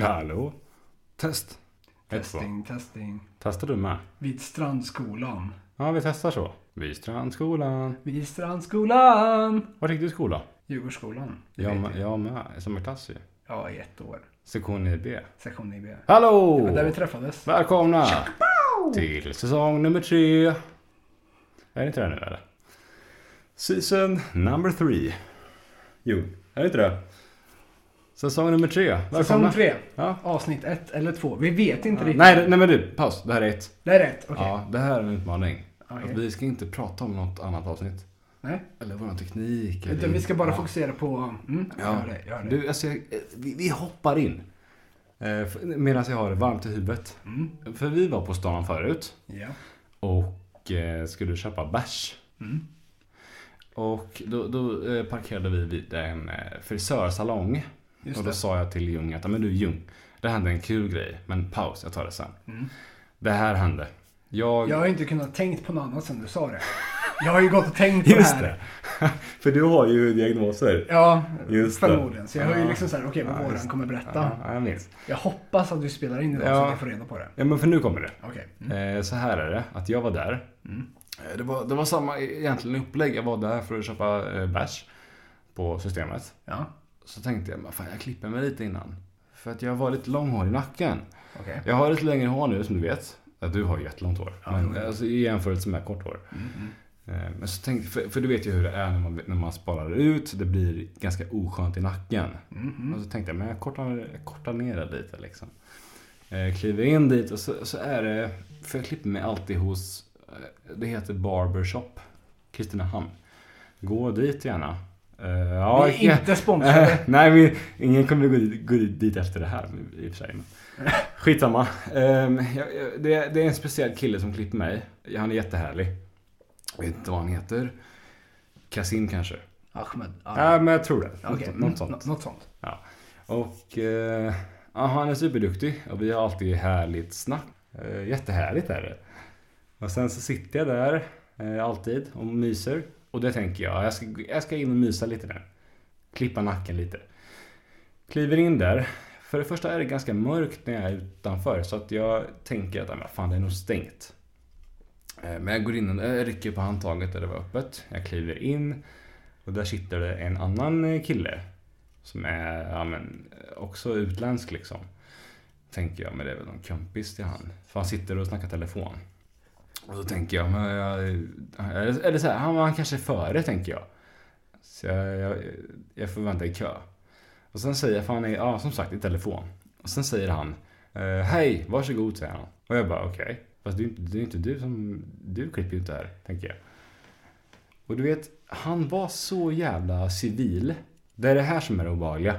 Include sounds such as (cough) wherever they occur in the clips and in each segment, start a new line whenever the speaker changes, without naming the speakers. Hallå?
Test.
Ett, två.
Testing, testing.
Testar du med?
Vid Strandskolan.
Ja, vi testar så. Bystrandskolan.
Vid Strandskolan!
Var gick du i skola?
Djurgårdsskolan. Det
Jag
vet
med,
jag.
jag med. Sommarklass ju.
Ja, i ett år.
Sektion B.
Sektion IB.
Hallå!
Men där vi träffades.
Välkomna till säsong nummer tre. Är det inte det nu eller? Season number three. Jo, är det inte det? Säsong nummer tre. Välkomna.
Säsong tre.
Ja.
Avsnitt ett eller två. Vi vet inte riktigt.
Nej, nej men du, paus. Det här är ett.
Det är rätt. Okej.
Ja, det här är en utmaning.
Okej.
Att vi ska inte prata om något annat avsnitt.
Nej.
Eller vår teknik. Eller...
Utan vi ska bara
ja.
fokusera på... Mm,
Ja.
gör det, gör det.
Du, alltså, jag, eh, vi, vi hoppar in. Eh, Medan jag har det varmt i huvudet.
Mm.
För vi var på stan förut.
Ja.
Och eh, skulle köpa bärs.
Mm.
Och då, då eh, parkerade vi vid en eh, frisörsalong.
Just
och då
det.
sa jag till Ljung att "Ja, men du Ljung, det hände en kul grej. Men paus, jag tar det sen.
Mm.
Det här hände. Jag...
Jag har ju inte kunnat tänkt på något annat sen du sa det. Jag har ju gått och tänkt på
Just
det här.
det! (laughs) För du har ju diagnoser.
Ja,
Just det.
förmodligen. Så jag har ju
Ja.
liksom såhär, okej vad
Ja,
vår
just-
han kommer berätta.
Ja, jag minns.
Jag hoppas att du spelar in idag så
Ja.
att jag får reda på det.
Ja, men för nu kommer det.
Okej. Mm.
Eh, Så här är det, att jag var där. Eh, Det var, det var samma e- egentligen upplägg. Jag var där för att köpa eh, bärs på systemet.
Ja,
Så tänkte jag, "Men fan jag klipper mig lite innan. För att jag var lite långhårig i nacken.
okej.
Jag har lite längre hår nu som du vet. Ja, du har ju jättelångt hår.
Ja,
men
jo, jo.
alltså, i jämförelse med kort hår.
Mm,
Eh, Men så tänkte, för, för du vet ju hur det är när man, när man sparar ut. Det blir ganska oskönt i nacken.
Mm.
Och
Alltså,
så tänkte jag, men jag kortar, jag kortar ner det lite liksom. Eh, Kliver in dit och så, så är det, för jag klipper mig alltid hos, eh, det heter Barbershop, Kristinehamn. Gå dit gärna. Eh, Ja,
Vi är
jag-
inte
Eh,
sponsrade.
(laughs) Nej, vi, ingen kommer gå dit, gå dit efter det här i och för sig.
(laughs)
men- Skitsamma. Ehm, jag, jag, det, det är en speciell kille som klipper mig. Han är jättehärlig. Jag vet inte vad han heter. Kasim kanske?
Ahmed.
Ja, men jag tror det. Något,
Okej, mm,
något sånt.
nå- Något sånt.
Och eh, ja, han är superduktig och vi har alltid härligt snack. Eh, jättehärligt är det. Och sen så sitter jag där eh, alltid och myser. Och det tänker jag, jag ska, jag ska in och mysa lite där. Klippa nacken lite. Kliver in där. För det första är det ganska mörkt när jag är utanför så att jag tänker att "Ah, men fan det är nog stängt. Eh, Men jag går in och jag rycker på handtaget där det var öppet. Jag kliver in och där sitter det en annan eh, kille som är ja, men, också utländsk liksom. Tänker jag, men det är väl någon kompis till han. För han sitter och snackar telefon. Och så tänker jag, men jag, eller, eller så här, han, han kanske är före tänker jag. Så jag, jag, jag får vänta i kö. Och sen säger, för han är, ja som sagt i telefon. Och sen säger han, eh, hej, varsågod säger han. Och jag bara, okej. Fast det är ju inte, det är ju inte du som, du klipper ju inte här, tänker jag. Och du vet, han var så jävla civil. Det är det här som är det obehagliga.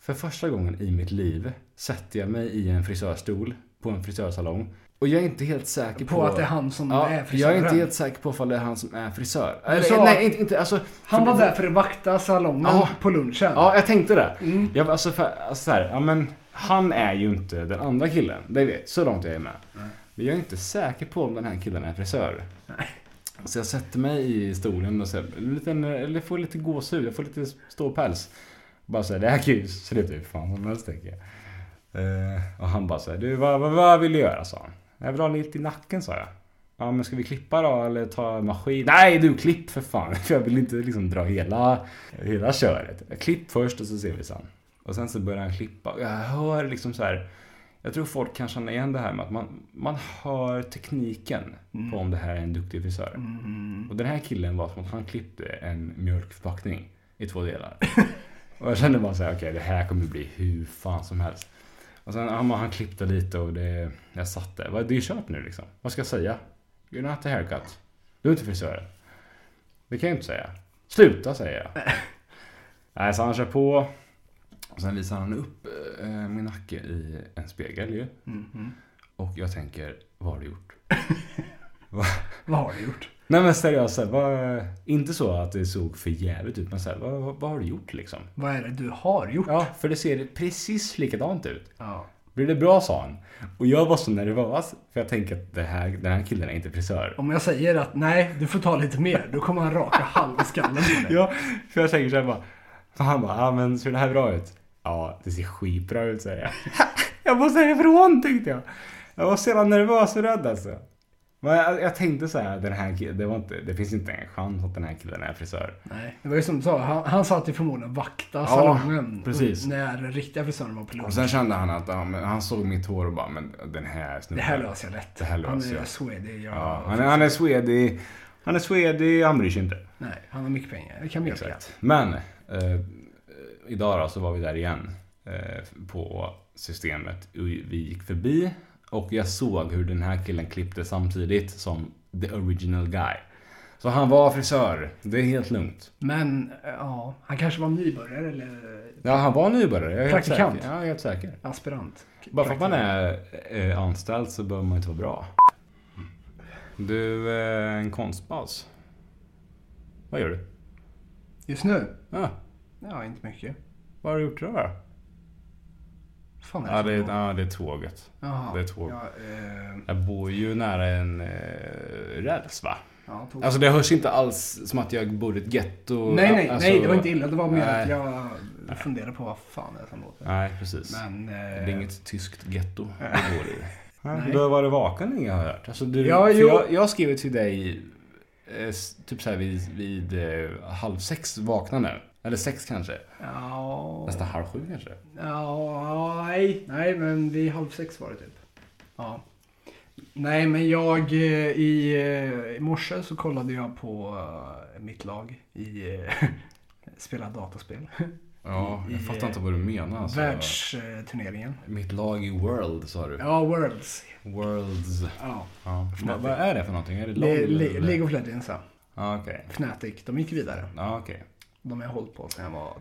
För första gången i mitt liv sätter jag mig i en frisörstol på en frisörsalong. Och jag är inte helt säker på...
På att det är han som
Ja,
är
jag är
frisören.
inte helt säker på ifall det är han som är frisör.
Du
Eller,
sa-
nej, inte, inte alltså.
Han
för-
var där för att vakta salongen
Ja.
på lunchen.
Ja, jag tänkte det.
Mm.
Jag, var alltså, för, alltså så här, ja men han är ju inte den andra killen. Det vet, så långt jag är med. Men jag är inte säker på om den här killen är frisör.
Nej.
Så jag sätter mig i stolen och så här, lite, eller får lite gåshud, jag får lite ståpäls. Bara såhär, det här kan ju se ut hur fan som helst tänker jag. Eh, och han bara såhär, du vad, vad, vad vill du göra sa han. Jag vill ha lite i nacken sa jag. Ja men ska vi klippa då eller ta maskin? Nej du klipp för fan. (laughs) För jag vill inte liksom dra hela, hela köret. Jag klipp först och så ser vi sen. Och sen så börjar han klippa och jag hör liksom så här. Jag tror folk kan känna igen det här med att man, man hör tekniken på om det här är en duktig frisör.
Mm.
Och den här killen var som att han klippte en mjölkförpackning i två delar. Och jag kände bara såhär, okej det här kommer bli hur fan som helst. Och sen, ja, men han klippte lite och det, jag satt där. Vad- Det är ju kört nu liksom. Vad ska jag säga? You're not a haircut. Du är inte frisör. Det kan jag ju inte säga. Sluta säger jag. Nej, så han kör på. Och sen visar han upp eh, min nacke i en spegel ju.
Mm.
Mm-hmm.
Mm.
Och jag tänker, vad har du gjort?
(laughs) Vad har du gjort?
Nej men seriöst, så här, vad, inte så att det såg för jävligt ut, men så här, vad, vad, vad har du gjort liksom?
Vad är det du har gjort?
Ja, för det ser precis likadant ut.
Ja.
Blir det bra sa han. Och jag var så nervös för jag tänkte att det här, den här killen är inte frisör.
Om jag säger att nej, du får ta lite mer, då kommer han
(laughs)
raka halva skallen på dig.
Ja, för jag tänker såhär bara. För han bara, ja men ser det här bra ut? Ja, det ser skitbra ut säger jag. (laughs) jag måste härifrån tänkte jag. Jag var så jävla nervös och rädd alltså. Men jag, jag tänkte så här, den här killen, det, var inte, det finns inte en chans att den här killen är frisör.
Nej, det var ju som du sa, han, han satt ju förmodligen och vaktade
Ja,
salongen.
precis.
När den riktiga frisören var på lunch.
Och sen kände han att ja, men han såg mitt hår och bara, men den här
Det
snubben.
här löser jag lätt.
Det här
han
löser
är
jag.
swedig. Jag,
Ja, han, är- han är svedig. Han är svedig, han bryr sig inte.
Nej, han har mycket pengar. Det kan vi göra.
Men eh, idag då så var vi där igen eh, på systemet. Vi vi gick förbi och jag såg hur den här killen klippte samtidigt som the original guy. Så han var frisör. Det är helt lugnt.
Men eh, ja, han kanske var nybörjare eller
Ja, han var nybörjare. Jag är helt
Praktikant.
säker. Ja, jag är helt säker.
aspirant.
Bara för att man är eh, anställd så behöver man inte vara bra. Du, eh, en konstpaus. Vad gör du?
Just nu?
Ah,
Ja, inte mycket.
vad har du gjort idag då?
Fan
Ja, det,
för något?
ja, det är tåget.
Jaha,
det är två.
Ja, eh,
Jag bor ju nära en eh, räls va?
ja, tog...
Alltså det hörs inte alls som att jag bor i ett getto.
nej, nej,
alltså,
nej, det var inte illa. Det var mer
nej.
att jag funderade på vad fan det är som låter.
Nej, precis.
Men... Eh,
Det är inget tyskt getto jag bor
(laughs)
i. Nej. Du har varit vaken länge har jag hört. Alltså, du,
Ja,
för
jo.
jag, jag skrev till dig eh, s- typ så här vid, vid eh, halv sex vakna nu. Eller sex kanske.
Ja,
Nästan halv sju kanske.
ja, nej, nej, men vid halv sex var det typ. Ja. Nej, men jag eh, i, eh, i morse så kollade jag på eh, mitt lag i eh, (laughs) spela dataspel.
Ja, jag
I,
fattar inte vad du menar. Alltså.
Världsturneringen.
Mitt lag i World sa du.
Ja, Worlds.
Worlds.
Ja.
Ja. Vad vad är det för någonting? Är det LOL?
Le- Le-
eller?
League of Legends, ja.
Ja, okej.
Fnatic, de gick vidare.
Ja, okej.
De har jag hållit på sedan jag var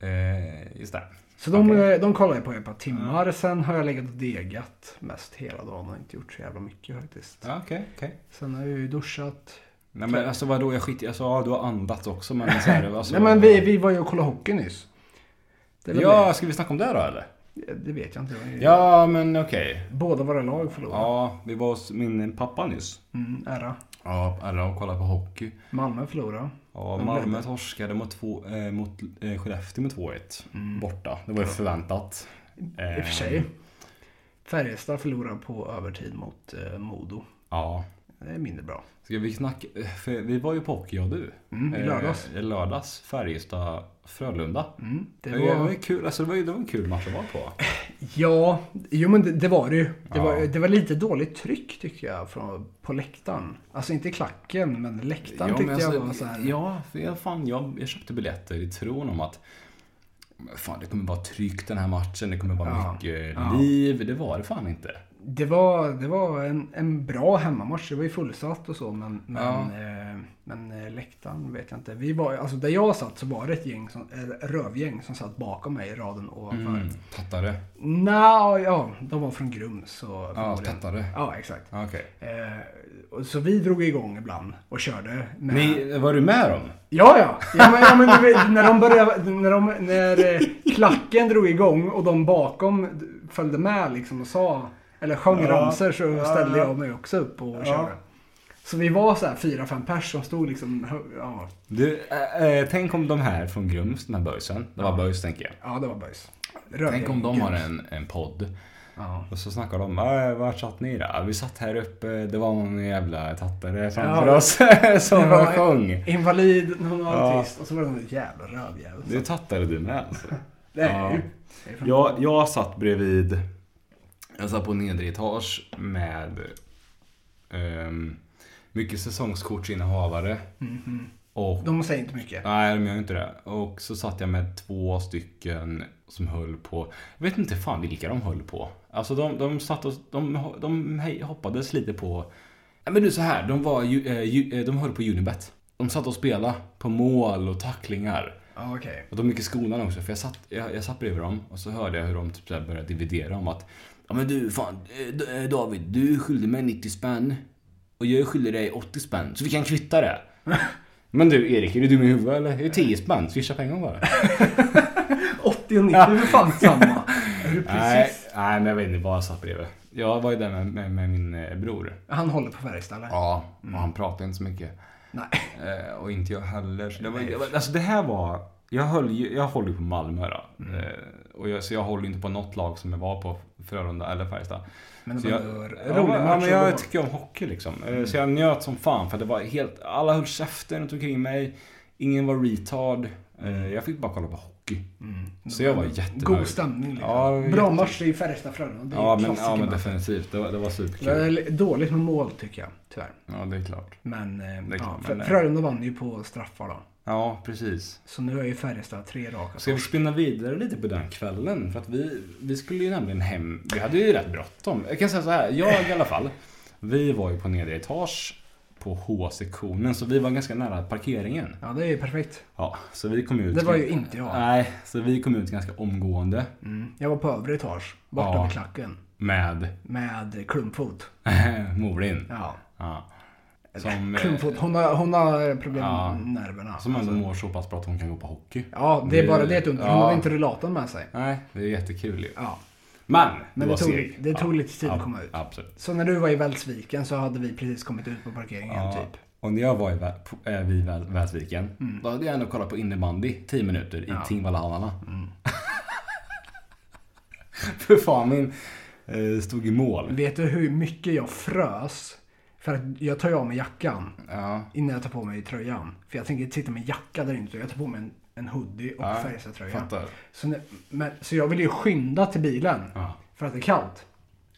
10-11.
Eh, just det.
Så de, eh, de kollade jag på i ett par timmar. Sen har jag legat och degat mest hela dagen och inte gjort så jävla mycket faktiskt.
Ja, okej, okej.
Sen har jag ju duschat.
Nej men alltså vadå, jag skiter alltså, ja, du har andats också men så
(laughs)
här, alltså,
Nej men vi, vi var ju och kollade hockey nyss. Det, är väl
Ja, ska vi snacka om det då eller?
det. det vet jag inte. Det var ju-
Ja, men okej.
Båda våra lag förlorade.
Mm. Ja, vi var hos min pappa nyss.
Mm, ära.
Ja, alla och kollade på hockey.
Malmö förlorade.
Ja, Malmö torskade mot, två, eh, mot eh, Skellefteå med 2-1. Borta. Det var ju förväntat.
I och
Eh.
för sig. Färjestad förlorade på övertid mot eh, Modo.
Ja.
Det är mindre bra.
Ska vi knacka, för vi var ju på hockey jag och du.
Mm, i lördags.
Eh, i lördags, Färjestad, Frölunda.
Mm, det
Det var, det var
var...
ju kul, alltså det var ju det var en kul match att vara på.
Ja, jo men det, det var det ju. Det,
Ja.
var, det var lite dåligt tryck tycker jag från, på läktaren. Alltså inte i klacken, men läktaren tyckte
men
jag
alltså,
var så här.
Ja, för jag, fan, jag, jag köpte biljetter i tron om att men fan, det kommer vara tryck den här matchen, det kommer vara
Ja.
mycket
Ja.
liv. Det var det fan inte.
Det var, det var en, en bra hemmamatch. Det var ju fullsatt och så, men, men,
Ja.
eh, men eh, läktaren vet jag inte. Vi var, alltså där jag satt så var det ett gäng som, ett rövgäng som satt bakom mig i raden ovanför. Mm.
Tattare.
ja, de var från Grums. Så
Ja,
förmodligen.
tattare.
ja, exakt.
Ja, Okej.
Eh, och så vi drog igång ibland och körde. med-
Ni, var du med dem?
Ja, ja. ja, men, ja men, du vet, när de började, när, de, när eh, klacken drog igång och de bakom följde med liksom och sa, eller sjöng
Ja,
ramsor så
ja,
ställde
ja.
jag mig också upp och
Ja.
körde. Så vi var så här fyra, fem pers som stod liksom, ja,
Du, äh, äh, tänk om de här från Grums, de här böjsen. Det var böjs tänker jag.
ja det var böjs.
Tänk om de har en, en podd.
Ja.
Och så snackar de, äh, vart satt ni då? "Ja, Vi satt här uppe, det var någon jävla tattare framför
Ja.
oss (laughs) som
Det var-
sjöng.
Invalid, någon
Ja.
autist och så var det någon jävla rövjävel.
Du tattade du med alltså.
Det är ju.
Ja. Jag, jag satt bredvid, jag satt på nedre etage med ehm, mycket säsongskortsinnehavare. Och,
De säger inte mycket.
nej, de gör inte det. Och så satt jag med två stycken som höll på, jag vet inte fan vilka de höll på. Alltså de, de satt och, de, de hej- hoppades lite på, nej men du så här, de var ju, eh, ju, eh, de höll på Unibet. De satt och spelade på mål och tacklingar.
Ja, okej.
Och de gick i skolan också, för jag satt, jag, jag satt bredvid dem och så hörde jag hur de typ så här började dividera om att Ja men du, fan eh, D- eh, David, du skyllde mig 90 spänn och jag skyller dig 80 spänn, så vi kan kvitta (laughs) det. Men du Erik, är du dum i huvudet eller? Det är 10 spänn, (laughs) swisha pengar bara.
80 och 90 är väl fan samma. Är du
(laughs) nej,
precis?
Nej, men jag vet inte vad jag satt bredvid. Jag var ju där med, med, med min eh, bror. Mm.
Han håller på Färjestad eller?
Ja, och han pratade inte så mycket.
Nej.
Eh, och inte jag heller. Så det, var, det var, alltså det här var... Jag, höll, ju- jag håller ju på Malmö då.
Mm.
Eh, och jag, så jag håller ju inte på något lag som jag var på, Frölunda eller Färjestad.
Men det
Så
var
jag,
en
ja,
rolig
men- ja, men
match. att gå
jag
på.
tycker om hockey liksom. Eh,
Mm.
Så jag njöt som fan för det var helt, alla höll käften runt omkring mig. Ingen var retard. Eh, Jag fick bara kolla på hockey. Mm. Så jag var jättenöjd.
God stämning liksom.
Ja, det var
Bra
jätte-
match i Färjestad-Frölunda. Det är
Ja men,
klassiker,
ja men
va?
definitivt, det var, det var
Det
superkul.
är dåligt med mål tycker jag, tyvärr.
Ja det är klart.
Men, eh,
är klart,
ja,
men
Frö-
det-
Frölunda vann ju på straffar då.
Ja precis.
Så nu är ju Färjestad tre raka.
Ska vi spinna vidare lite på den kvällen? För att vi, vi skulle ju nämligen hem, vi hade ju rätt bråttom. Jag kan säga så här, jag i alla fall. Vi var ju på nedre etage på H-sektionen så vi var ganska nära parkeringen.
Ja, det är ju perfekt.
Ja, så vi kom ut.
Det var ju inte jag.
Nej, så vi kom ut ganska omgående
Mm. Jag var på övre etage, bortom
Ja.
i klacken.
med (laughs)
Med klumpfot.
Morin.
Ja.
Ja. Som, eh,
Klumpfot. Hon har, hon har problem
Ja.
med nerverna.
som ändå mår så pass bra att hon kan gå på hockey.
Ja, det är bara det ett under. Hon
Ja.
har inte rullatorn med sig.
Nej, det är jättekul ju.
Ja.
Men,
Men det
var
tog,
seg.
det tog
Ja,
lite tid att
ja,
komma ut.
Absolut.
Så när du var i Välsviken så hade vi precis kommit ut på parkeringen
Ja.
typ.
Och när jag var i Vä- på- eh, vid Vä- Väsviken, då hade jag ändå kollat på innebandy 10 minuter i
Ja.
Tingvallahallarna. (laughs) För fan, min eh, stod i mål.
Vet du hur mycket jag frös? För att jag tar ju av mig jackan
Ja.
innan jag tar på mig tröjan. För jag tänker inte sitta med jacka där inte. Jag tar på mig en, en hoodie och
Ja,
Färjestad-tröja.
Fattar.
Så, när- men, så jag vill ju skynda till bilen.
Ja.
För att det är kallt.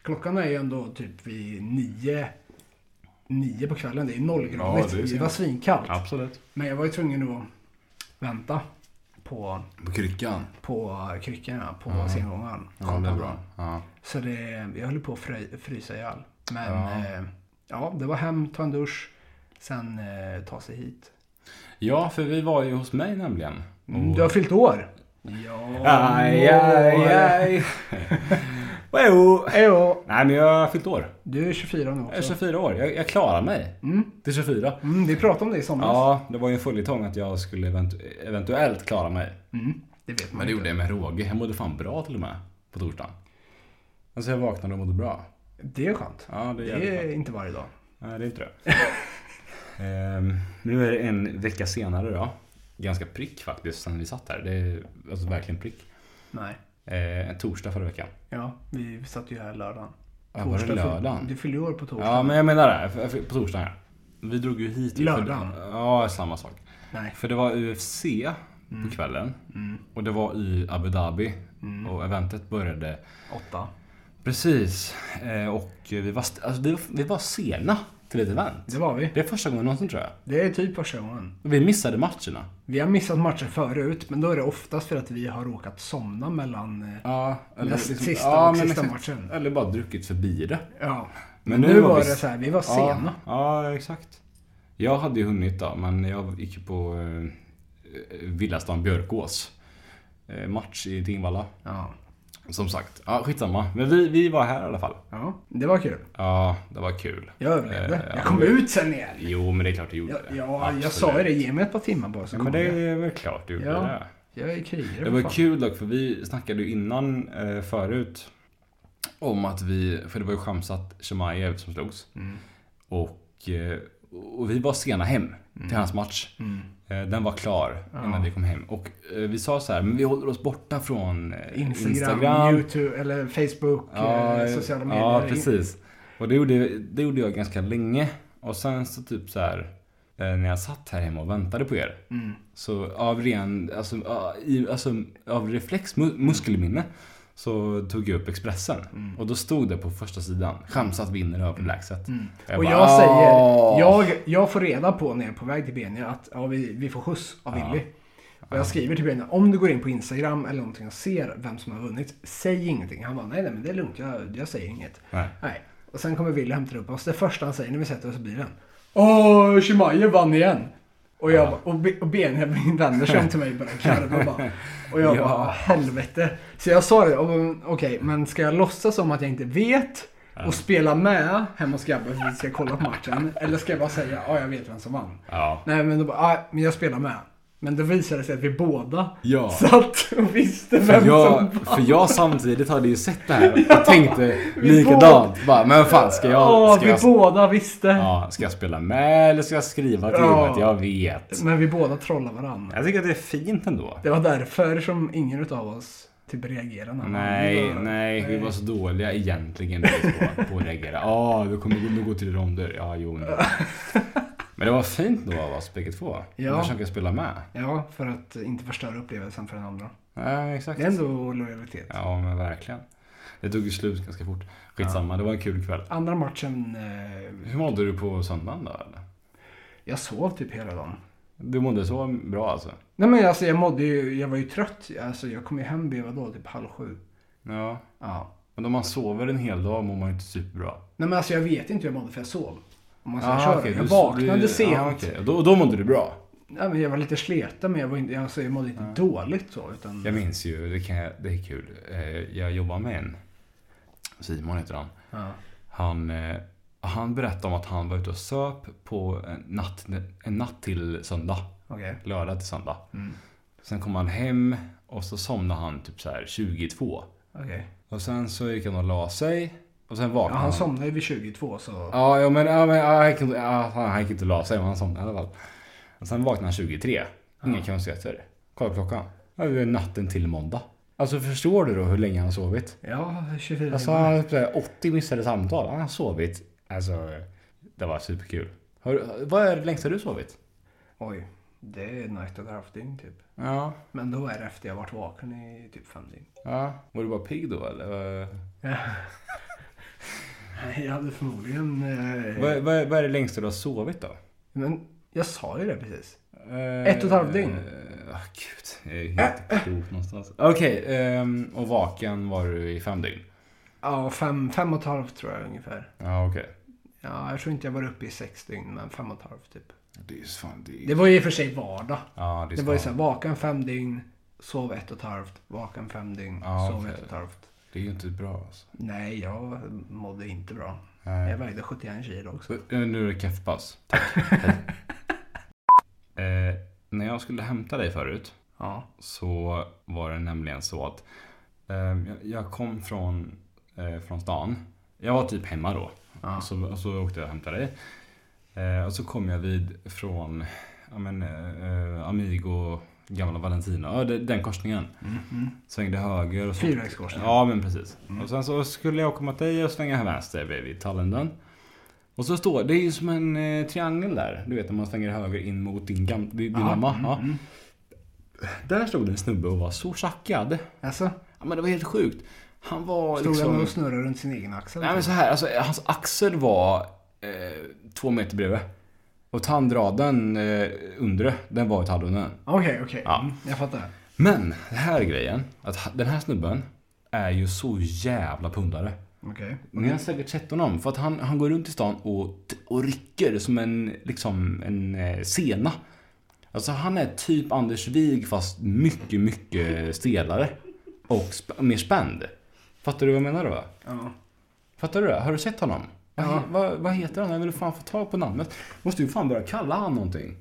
Klockan är ju ändå typ vid nio. Nio på kvällen. Det är
Ja,
nollgradigt.
det är
det,
så.
var svinkallt.
Absolut.
Men jag var ju tvungen att vänta på,
På kryckan.
på kryckorna, på sengångaren.
Mm. Ja, det är bra. Ja.
Så det, jag höll på att frö- frysa ihjäl. Men
Ja.
ja. Eh, ja, det var hem, ta en dusch, sen eh, ta sig hit. Mm,
Ja, för vi var ju hos mig nämligen.
Du har fyllt år! Ja,
Oh. Aj, aj, (laughs) aj. Wow.
Ejo,
Nej, men jag har fyllt år.
du är 24 nu
Jag är
också.
24 år. Jag, jag klarar mig.
Mm.
Till 24.
Mm, vi pratade om det i somras.
Ja, det var ju en följetong att jag skulle eventu- eventuellt klara mig.
Mm, det vet man
Men det
inte.
gjorde jag med råge. Jag mådde fan bra till och med. På torsdagen. Alltså jag vaknade och mådde bra.
Det är skönt.
Ja, det är
Det
jävligt
är inte varje dag.
Nej, det är inte (laughs) det. Ehm, nu är det en vecka senare då. Ganska prick faktiskt sen vi satt här. Det är alltså verkligen prick.
Nej.
Eh, en torsdag förra veckan.
Ja, vi satt ju här lördagen.
Ja, var det
Torsdag fyll-
lördagen?
Du fyllde ju år på torsdag.
Ja, men jag menar det. F- f- På torsdagen ja. Vi drog ju hit.
Lördagen.
Ja, samma sak.
Nej.
För det var UFC på kvällen. Och det var i Abu Dhabi. Och eventet började
Åtta.
precis. Eh, och vi var, st- alltså, vi, var- vi var sena till ett event.
Det var vi.
Det är första gången någonsin tror jag.
Det är typ första gången.
Vi missade matcherna.
Vi har missat matcher förut, men då är det oftast för att vi har råkat somna mellan... eh,
Ja, liksom-
Näst sista och sista matchen.
Eller bara druckit förbi det.
Ja.
Men
Nu var det
s-
så här, vi var
ja,
sena.
Ja, exakt. Jag hade ju hunnit då, men jag gick ju på eh, Villastan Björkås. Eh, match i Tingvalla.
Ja.
Som sagt, ja skitsamma. Men vi, vi var här i alla fall.
ja. Det var kul.
Ja, det var kul.
Jag överlevde.
Eh,
jag kom ut sen igen.
Jo, men det är klart du gjorde
Ja,
det.
ja jag
Absolut.
sa ju det. Ge mig ett par timmar bara så
Ja, men
kommer
det
jag.
är väl klart du gjorde
Ja.
det.
Jag är krigare
Det
för
var
fan.
kul dock, för vi snackade ju innan eh, förut om att vi, för det var ju Shamsat Shemaev som slogs. Och, eh, och vi var sena hem till hans match.
Mm.
Eh, Den var klar innan vi kom hem. Och eh, vi sa så här, men vi håller oss borta från eh,
Instagram,
Instagram
YouTube eller Facebook, eh, sociala medier.
Ja, precis. Och det gjorde, det gjorde jag ganska länge. Och sen så typ så här eh, när jag satt här hemma och väntade på er.
Mm.
Så av ren, alltså, ja, i, alltså av reflex, mu- muskelminne. Så tog jag upp Expressen.
Mm.
Och då stod det på första sidan. Chamsat vinner överlägset. Mm.
Och jag säger,
"Åh!"
jag, jag får reda på när jag är på väg till Benja att ja, vi, vi får skjuts av Willy. Och jag skriver till Benja, om du går in på Instagram eller någonting och ser vem som har vunnit, säg ingenting. Han bara, nej, nej men det är lugnt, jag, jag säger inget.
Nej.
Och sen kommer Willy och hämtar upp oss. Det första han säger när vi sätter oss i bilen. Åh, Shimaev vann igen! Och, jag, och, Be- och Benjamin (laughs) vänder sig om till mig och börjar garva och bara. Och (laughs) jag
Ja.
bara, helvete. Så jag sa det, "Om- okej, men ska jag låtsas som att jag inte vet och spela med hemma hos grabben för att vi ska kolla på matchen? Eller ska jag bara säga, ja jag vet vem som vann? (laughs)
Ja.
Nej men då bara, "Ah, men jag spelar med. Men då visade det sig att vi båda
Ja.
satt och visste vem
För jag,
som var.
för jag samtidigt hade ju sett det här och tänkte
(laughs) vi
likadant. Bara, men fan ska
ja,
jag, ska
vi
jag,
båda visste.
ja, ska jag spela med eller ska jag skriva till
Ja.
att jag vet?
Men vi båda trollade varandra.
Jag tycker att det är fint ändå.
Det var därför som ingen utav oss typ reagerade. när man-
Nej,
Vi bara,
nej, vi var så dåliga egentligen på, på att reagera. Ja, du kommer du gå till ronder. Ja, jo. Nej. Men det var fint då av oss bägge två.
Ja.
Att försöka spela med.
Ja, för att inte förstöra upplevelsen för den andra.
Nej, exakt.
Det är ändå lojalitet.
Ja, men verkligen. Det tog ju slut ganska fort. Skitsamma, det var en kul kväll.
Andra matchen, eh,
Hur mådde du på söndagen då? Eller?
jag sov typ hela dagen.
Du mådde så bra alltså?
Nej men alltså jag mådde ju, jag var ju trött. Alltså jag kom ju hem vid vadå, typ halv sju.
Ja.
Ja.
Men om man sover en hel dag mår man ju inte superbra.
Nej men alltså jag vet inte hur jag mådde för jag sov. Om man ska
Ah,
köra.
okej,
Alltså, jag
du-
vaknade
du-
sent.
ah, okej. Och då, då mådde du bra.
Nej, men jag var lite sleten men jag, var inte, alltså, jag mådde inte dåligt så. Utan,
Jag minns ju, det, kan jag, det är kul. Eh, Jag jobbar med en. Simon heter han.
ja.
Han, eh, han berättade om att han var ute och söp på en natt, en natt till söndag.
Okej.
Lördag till söndag.
Mm.
Sen kom han hem och så somnade han typ så här 22.
Okej.
Och sen så gick han och la sig. Och sen
Ja,
vaknade
han somnade ju vid 22 så.
Ja, ja men, ja, men ja, han, gick inte, ja, fan, han gick inte och la sig, men han somnade i alla fall. Och sen vaknade han 23. Inga konstigheter. Kolla klockan. Ja, det är natten till måndag. Alltså förstår du då hur länge han har sovit?
Ja, 24
Alltså
timmar.
han har typ så här 80 missade samtal. Han har sovit. Alltså, det var superkul. Har, du- vad är det längsta du sovit?
Oj. Det är night och ett halvt dygn typ.
Ja.
Men då är det efter jag varit vaken i typ fem dygn. (laughs)
ja. Var du bara pigg då
Eh.
eller?
Nej, jag hade förmodligen... Eh,
Vad, vad, vad är det längsta du har sovit då?
Men jag sa ju det precis.
Eh,
Ett och ett halvt dygn.
eh, ah, gud, jag är helt klok någonstans. Okej, ehm, och vaken var du i fem dygn?
Ja, fem, fem och ett halvt tror jag ungefär.
Ja, okej.
Ja, jag tror inte jag var uppe i sex dygn, men fem och ett halvt typ.
Det är ju fan... Det,
Det var ju i och för sig vardag.
ja, det,
Det var ju såhär, vaken fem dygn, sov ett och ett halvt, vaken fem dygn,
Ja,
sov
okej.
ett och ett halvt.
det är ju inte bra alltså.
Nej, jag mådde inte bra.
Nej.
Jag vägde 71 kilo
Så,
också.
eh, nu är det kaffepaus. (laughs) Tack. Hej. eh, när jag skulle hämta dig förut
Ja.
så var det nämligen så att ehm, jag, jag kom från, eh, från stan. Jag var typ hemma då.
ja.
Och så, och så åkte jag och hämtade dig. Eh, och så kom jag vid från ja, men, eh, Amigo, gamla Valentina. Ja, det- den korsningen.
Mhm.
Svängde höger. Och så,
Fyrvägskorsning.
Ja, men precis.
Mm.
Och sen så skulle jag komma till dig och svänga vänster vid- vid Tallenden. Och så står, det är ju som en eh, triangel där. Du vet när man svänger höger in mot din, gam, din
Ja,
mamma.
mm,
Ja.
mm.
Där stod en snubbe och var så tjackad.
Alltså,
Ja, men det var helt sjukt. Han var
stod
liksom...
han och snurrade runt sin egen axel?
Nej men så här, alltså, hans axel var eh, två meter bredvid. Och tandraden eh, undre, den var i tallrunnan.
Okej, okej.
Ja.
Mm, Jag fattar.
Men det här är grejen, att ha- den här snubben är ju så jävla pundare.
Okej.
Ni har säkert sett honom, för att han, han går runt i stan och, t- och rycker som en, liksom, en eh, sena. Alltså han är typ Anders Wig fast mycket, mycket stelare. Och sp- mer spänd. Fattar du vad jag menar då?
Ja.
Fattar du det? Har du sett honom? Vad,
Ja.
vad, vad heter han? Jag vill fan få tag på namnet. Måste ju fan börja kalla han någonting.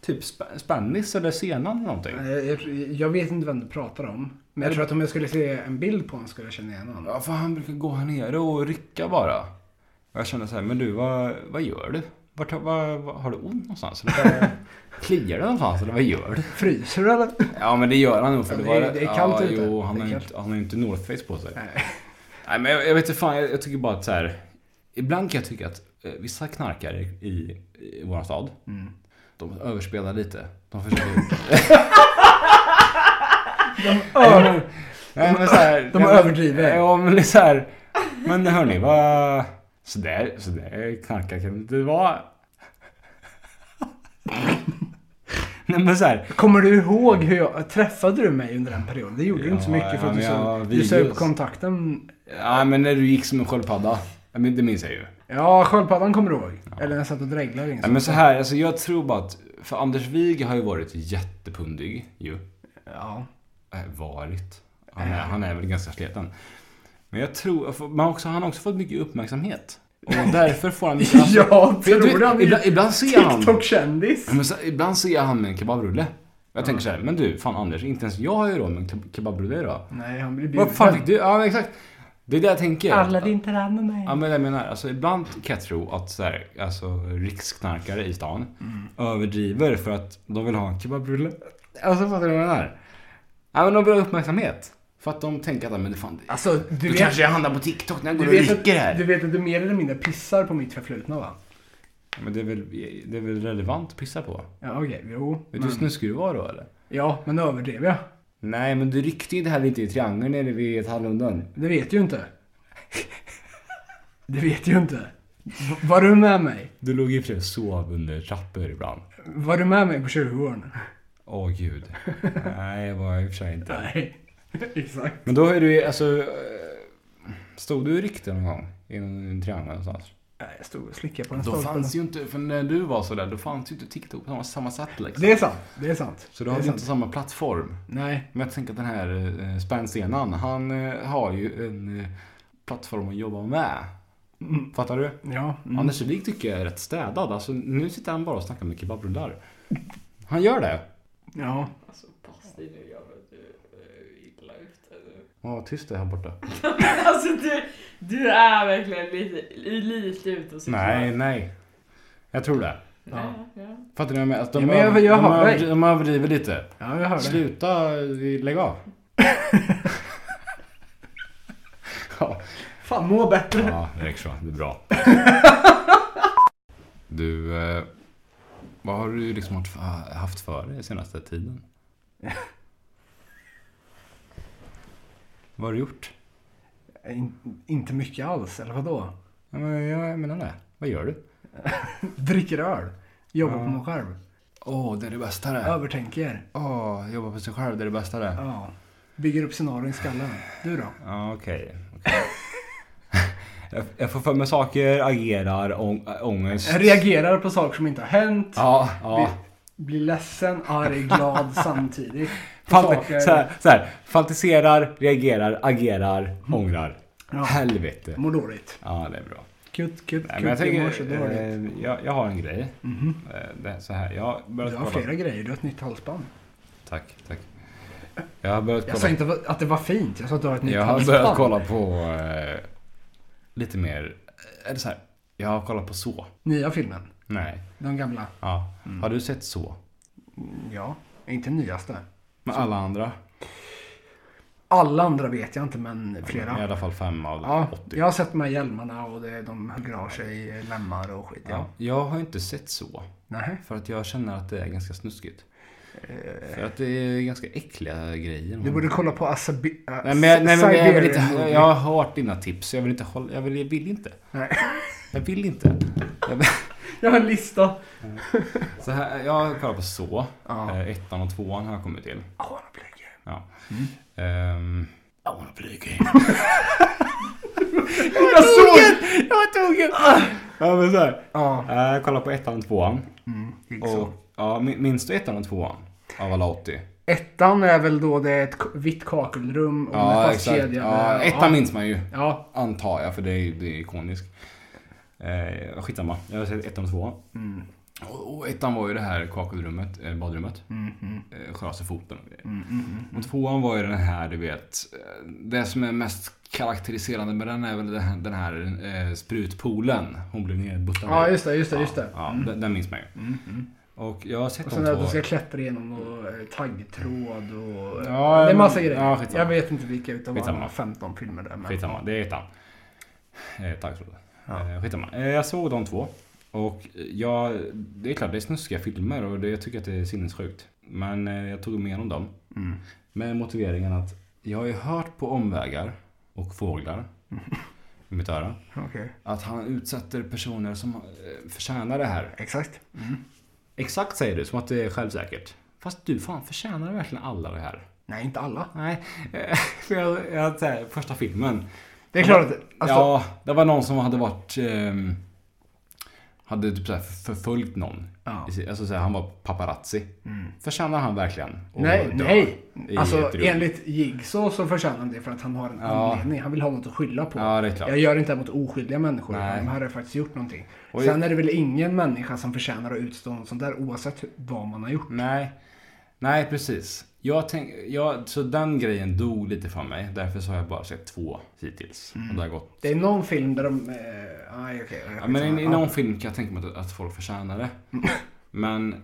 Typ sp- Spannis eller Senan eller någonting.
Eh, Jag, jag vet inte vem du pratar om. Men jag tror att om jag skulle se en bild på honom skulle jag känna igen honom.
Ja, för han brukar gå här nere och rycka bara. Och jag känner så här, men du vad, vad gör du? Vart, vad, vad, har du ont någonstans? Eller
(laughs)
vad- kliar det någonstans eller vad gör du?
Fryser du eller?
Ja men det gör han nog för
Ja,
det,
det är-
var,
det är kallt
ja,
ute.
Jo, han
Det är
har ju
kallt.
inte, han har ju inte Northface på sig.
Nej.
Nej men jag, jag vet inte fan, jag, jag tycker bara att så här. Ibland kan jag tycka att eh, vissa knarkare i, i vår stad,
Mm.
de överspelar lite. De försöker... Nej, men så här,
De
nej, men-
överdriver.
Ja men det är så här. Men hörni, vad... Sådär, sådär knarkare kan det inte vara. Nej men så här.
Kommer du ihåg hur jag... Träffade du mig under den perioden? Det gjorde du inte så
Ja,
mycket för att du,
ja, men
så,
jag-
du sa upp
videos.
kontakten.
Ja men när du gick som en sköldpadda. Ja, men Det minns jag ju.
Ja, sköldpaddan kommer du ihåg. Eller när jag satt och liksom. dreglade i en
Nej,
sån.
men så här, alltså jag tror bara att, för Anders Wig har ju varit jättepundig ju.
Ja.
Äh, Varit. Han är, han är väl ganska sliten. Men jag tror, för man har också, han har också fått mycket uppmärksamhet. Och därför får han mycket raster.
(laughs) ja,
För jag- du
tror
Alltså, vet,
han
ibland,
är
ibland ser han...
TikTok-kändis?
Men så, ibland ser jag han med en kebabrulle. Jag tänker så här, men du, fan Anders, inte ens jag har ju råd med en keb- kebabrulle idag.
Nej, han blir
Vad fan fick du? Ja, men exakt. Det är det jag tänker.
inte där med mig.
Ja, men jag menar, alltså ibland kan jag tro att så här, alltså riksknarkare i stan
Mm.
överdriver för att de vill ha en kebabrulle. Alltså fattar du vad jag menar? Ja, men de vill ha uppmärksamhet. För att de tänker att, ja, men det fan, det,
Alltså, du
du
vet,
kanske jag hamnar på TikTok när jag
du,
går och
vet att,
rycker här.
du vet att du mer eller mindre pissar på mitt förflutna va?
Ja, Men det är, väl, det är väl relevant att pissa på?
Ja, okej, jo.
Vet du hur snuskig du var då eller?
Ja, men överdrev jag?
Nej, men du ryckte ju det här lite i triangeln nere vid Hallundan.
Det vet ju inte. Det vet ju inte. V- Var du med mig?
Du låg i och för sig och sov under trappor ibland.
Var du med mig på Tjuvgården?
Åh gud. (laughs) Nej, det var jag i och för sig inte.
Nej. (laughs) Exakt.
Men då är du alltså... eh, Stod du i rykte någon gång? I en, en triangel någonstans?
Nej, jag stod och slickade på den
Då
stolpen.
fanns ju inte, för när du var sådär, då fanns ju inte TikTok på samma, samma sätt liksom.
Det är sant. Det är sant.
Så du
det är
hade ju
sant.
inte samma plattform.
Nej.
Men jag tänker att den här eh, spänstenan, han eh, har ju en eh, plattform att jobba med.
Mm.
Fattar du?
Ja. Mm.
Anders Wijk tycker jag är rätt städad. Alltså, nu sitter han bara och snackar med kebabrullar. Han gör det.
Ja.
Alltså pass dig nu jävlar, du är eh, illa ute nu.
Ja, tyst det här borta.
Alltså du, du är verkligen lite, lite ute och cyklar.
Nej, nej. Jag tror det.
Ja, ja.
Fattar ni vad jag menar? Alltså,
Ja, men jag- jag
de,
hör dig.
överdri- de överdriver lite.
Ja, jag hör det.
Sluta, lägg
(laughs)
av. ja.
Fan, må bättre.
ja, det räcker så. Det är
(laughs)
bra. Du, eh, vad har du liksom haft för- haft för dig senaste
(laughs)
tiden? Vad har du gjort?
In, inte mycket alls, eller vadå?
Ja, men jag menar det. Vad gör du?
Dricker öl. Jobbar
Ja.
på mig själv.
Åh, det är det bästa det.
Övertänker.
Åh, jobba på sig själv, det är det bästa det.
Ja. Bygger upp scenarion i skallen. Du då?
Ja, okej. okej. (laughs) jag, jag får för mig saker, agerar, ång, äh, ångest.
Reagerar på saker som inte har hänt.
Ja, ja.
Blir ledsen,
(laughs)
arg, glad samtidigt. På saker-
Fanti- så här, så här, fantiserar, reagerar, agerar, ångrar.
Ja.
Helvete.
Mår dåligt.
Ja, det är bra.
Kutt, kutt,
Nej,
kutt.
men jag,
Jag mår så
tänker,
dåligt.
eh, jag, jag har en grej.
Mhm.
Eh, det är så här, jag har börjat
Du har
kolla-
flera grejer. Du har ett nytt halsband.
Tack, tack. Jag har börjat
Jag sa
kolla,
inte att det var fint. Jag sa att du har ett nytt
jag har
halsband.
börjat kolla på eh, lite mer, eller så här, jag har kollat på så.
Nya filmen.
Nej.
Den gamla.
Ja.
Mm.
Har du sett så?
Ja. Inte nyaste.
Med alla andra?
Alla andra vet jag inte, men flera.
I alla fall fem av
Ja,
80.
jag har sett de här hjälmarna och det, de hugger av sig lemmar och skit. Ja.
Ja. Jag har inte sett så.
Nej.
För att jag känner att det är ganska snuskigt. För att det är ganska äckliga grejer.
Eh. Du borde kolla på Asabi... äh,
Nej men, jag- nej, men jag, vill inte,
Siberian Movie.
jag har hört dina tips. Jag vill inte hålla, jag vill, jag vill inte.
Nej.
Jag vill inte. Jag, vill-
Jag har en lista.
så här, jag har kollat på så.
Ja.
Eh, ettan och tvåan har jag kommit till.
Oh, han blir gay.
Ja. Ehm, Mm. I wanna play a game.
jag såg Ah. det!
jag var tvungen! (laughs) Ja men såhär.
Ja.
Jag kollar på ettan och tvåan.
Mm, gick så.
Och, ja, min- minns du ettan och tvåan? Av alla 80?
Ettan är väl då det är ett k- vitt kakelrum och en fast kedja.
Ja,
med-
ettan minns man ju.
Ja.
Antar jag, för det är, det är ikoniskt. Eh, skitsamma, jag har sett ettan och tvåan.
Mm,
Och, och ettan var ju det här kakelrummet, eh, badrummet.
mm, mm,
Eh, Sköraste foten och grejer.
mm, mm, mm.
Och tvåan var ju den här, du vet. eh, Det som är mest karaktäriserande med den är väl den här, den här eh, sprutpoolen. Hon blev nedbuttad.
Ja, just det, just det, just det.
Ja, den, den minns man ju.
Mm, mm.
Och jag har sett
Och
de
sen att du
två.
ska klättra igenom och eh, taggtråd och...
Ja,
det är massa
men-
grejer.
ja, skitsamma.
jag vet inte vilka utav
Skitsamma.
alla 15 filmer det är. men-
Skitsamma, det är ettan. Eh, tack så mycket.
Ja.
Eh, skitsamma. Eh, jag såg de två. Och jag, det är klart det är snuskiga filmer och det, jag tycker att det är sinnessjukt. Men eh, jag tog mig igenom dem.
Mm.
Med motiveringen att jag har ju hört på omvägar och
(laughs)
fåglar i mitt öra.
Okej.
Att han utsätter personer som eh, förtjänar det här.
Exakt.
Exakt säger du, som att det är självsäkert. Fast du, fan förtjänar verkligen alla det här?
Nej, inte alla.
Nej, eh, (laughs) för jag, jag, så här, första filmen.
Det är klart att... Alltså,
ja, det var någon som hade varit... ehm, hade typ så här förföljt någon.
Ja. Mm.
I sin- Alltså så här, han var paparazzi. Förtjänar han verkligen att
Nej,
dö
nej.
i
Alltså
ett rum?
enligt Jigsaw så förtjänar han det för att han har en
Ja.
anledning. Han vill ha något att skylla på.
Ja, det är klart.
Jag gör inte det mot oskyldiga människor.
Nej.
De här har faktiskt gjort någonting.
Och-
Sen är det väl ingen människa som förtjänar att utstå något sånt där oavsett hur- vad man har gjort.
Nej, nej precis. Jag tänk, jag, så den grejen dog lite för mig. Därför så har jag bara sett två hittills.
Mm.
Och det har gått.
Det är någon film där de... Eh, aj, okej.
Ja, men i, i någon film kan jag tänka mig att, att folk förtjänar
(laughs)
det. Men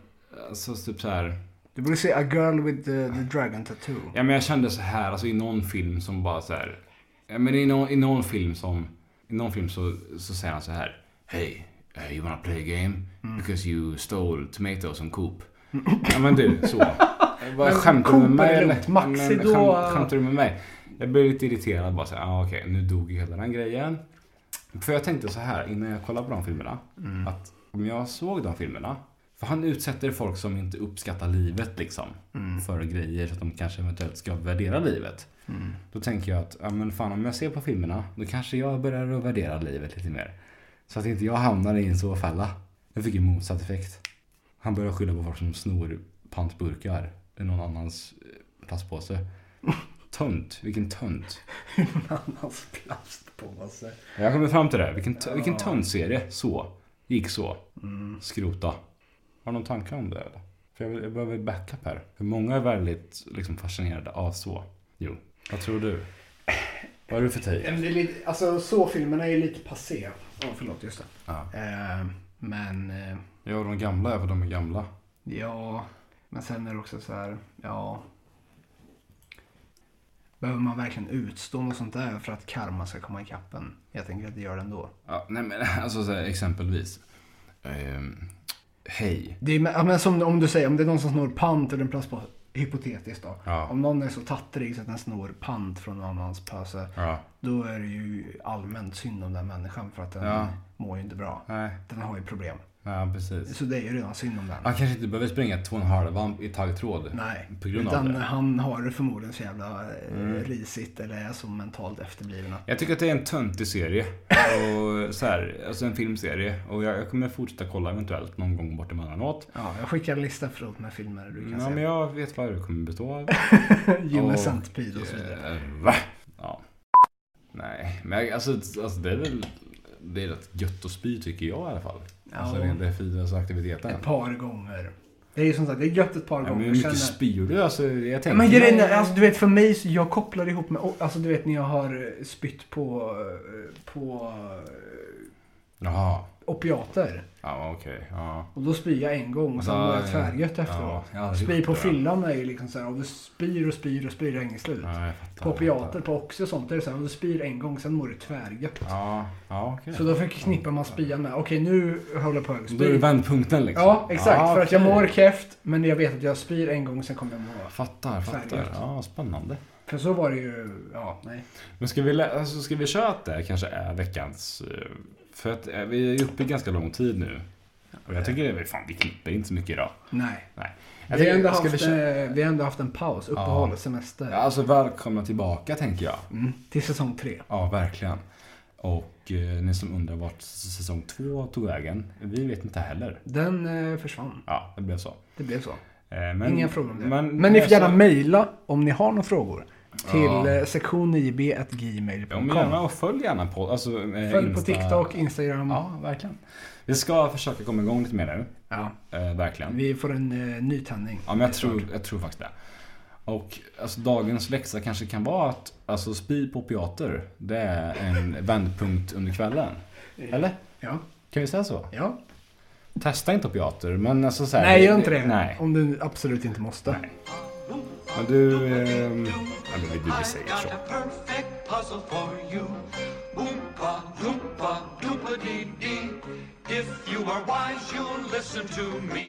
alltså typ så här.
Du borde se A Girl with the, the Dragon Tattoo. (laughs)
Ja men jag kände så här, alltså i någon film som bara så här. Ja, men i någon, i någon film som, i någon film så, så säger han så här. Hey, uh, you wanna play a game? Because you stole tomatoes from (clears throat) Coop. Ja men du, så. Vad
Men
skämtar du med
Coop
mig
är
eller?
lugnt. Maxi,
Men
då-
skäm- Skämtar du med mig? Jag blev lite irriterad bara så här, ah, okej nu dog ju hela den grejen. För jag tänkte så här innan jag kollade på de filmerna. Att om jag såg de filmerna. För han utsätter folk som inte uppskattar livet liksom. För grejer så att de kanske eventuellt ska värdera livet. Då tänker jag att, ja men fan om jag ser på filmerna. Då kanske jag börjar att värdera livet lite mer. Så att inte jag hamnar i en så fälla. Jag fick ju motsatt effekt. Han börjar skylla på folk som snor pantburkar i någon annans eh, plastpåse. Tönt, vilken tönt.
Någon annans plastpåse.
Jag kommer fram till det. Vilken, t- vilken töntserie. Så. Gick så. Skrota. Har du någon tanke om det eller? För jag, vill- jag behöver backup här. För många är väldigt liksom, fascinerade av så. Jo. Vad tror du? Vad är du för typ?
Ja,
tid?
men det är lite- Alltså så-filmerna är ju lite passé. Ja, förlåt. Just det.
Ja.
Eh, men... Eh,
Jag och de gamla är för de är gamla.
Ja, men sen är det också så här, ja. Behöver man verkligen utstå något sånt där för att karma ska komma ikapp en? Jag tänker att det gör det ändå.
Ja, nej men (laughs) alltså så här, exempelvis. Ehm, hej.
Det är, ja, men som om du säger, om det är någon som snor pant ur en plastpåse, hypotetiskt då.
Ja.
Om någon är så tattrig så att den snor pant från någon annans påse,
Ja.
då är det ju allmänt synd om den människan för att den
Ja.
mår ju inte bra.
Nej.
Den har ju problem.
Ja, precis.
Så det är ju redan synd om den.
Han kanske inte behöver springa två och en halvan i taggtråd.
Nej,
På grund av
utan
det. Mm.
han har det förmodligen så jävla eh, risigt eller är så mentalt efterbliven. att-
Jag tycker att det är en töntig serie. Och så här, alltså en filmserie. Och jag, jag kommer fortsätta kolla eventuellt någon gång bort emellanåt.
Ja, jag skickar en lista förut med filmer du kan
Ja, men
se.
jag vet vad det kommer bestå
(laughs)
av.
Jimmy
och-
Centipede och så vidare.
Eh, Va? Ja. Nej, men jag- alltså, alltså det är väl... Det är rätt gött att spy tycker jag i alla fall. Alltså
Ja.
rent det är fysiska aktiviteten.
Ett par gånger. Det är ju som sagt, det är gött ett par
Ja, men
gånger.
hur
Sen är-
mycket spyr du? Alltså, jag tänker...
men grejen är, alltså, du vet för mig, så jag kopplar ihop med, alltså du vet när jag har eh, spytt på, eh, på eh,
Jaha.
opiater.
Ja, okej. Ja.
Och då spyr jag en gång och sen
Ja,
mår jag
ja.
tvärgött
Ja,
efteråt.
jag har aldrig
spyr
gjort
på
det.
fyllan är ju liksom såhär, om du spyr och spyr och spyr, det är inget slut.
ja jag fattar.
På opiater, på oxy och sånt, det är det såhär, om du spyr en gång, sen mår du tvärgött.
Ja, ja okej.
Så då förknippar man spyan med, okej nu håller jag på att
Då är det
spy.
vändpunkten liksom.
Ja, exakt.
Ja,
för att jag
okej.
mår kräft, men jag vet att jag spyr en gång, sen kommer jag må...
Fattar, fattar.
Färgat.
Ja, spännande.
För så var det ju, ja, nej.
Men ska vi, lä- alltså, ska vi köra att det kanske är veckans... eh, För att eh, vi är ju uppe i ganska lång tid nu. Och jag tycker det är fan, vi klipper inte så mycket idag.
Nej.
Nej. Jag
Vi har,
tycker-
ändå
ska vi
haft,
köra-
eh, vi har ändå haft en paus, uppehåll, semester.
Ja, alltså välkomna tillbaka tänker jag.
Mm, till säsong tre.
Ja, verkligen. Och eh, ni som undrar vart s- säsong två tog vägen. Vi vet inte heller.
Den eh, försvann.
Ja, det blev så. Eh,
Det blev så.
Men,
Inga frågor om det. Men,
Men,
ni får
alltså-
gärna mejla om ni har några frågor. Till
Ja.
ja. sektion
Ja, men
9b.gmail.com.
gärna och följ gärna på... Alltså,
Följ på TikTok, Instagram. Ja.
Ja, verkligen. Vi ska försöka komma igång lite mer nu. Eh, verkligen.
Vi får en eh, ny tändning.
Ja, men jag tror, jag tror faktiskt det. Och alltså, dagens läxa kanske kan vara att alltså, spy på opiater, det är
(laughs)
en vändpunkt under kvällen. Eller?
Ja.
Kan vi säga så?
ja.
Testa inte opiater, men alltså så här,
Nej, gör inte det.
Nej.
Om du absolut inte måste.
Men du... ehm, ja, men du, vi säger
I
så.
got a perfect puzzle for you. Oompa, loompa, doopa dee dee. If you are wise, you'll listen to me.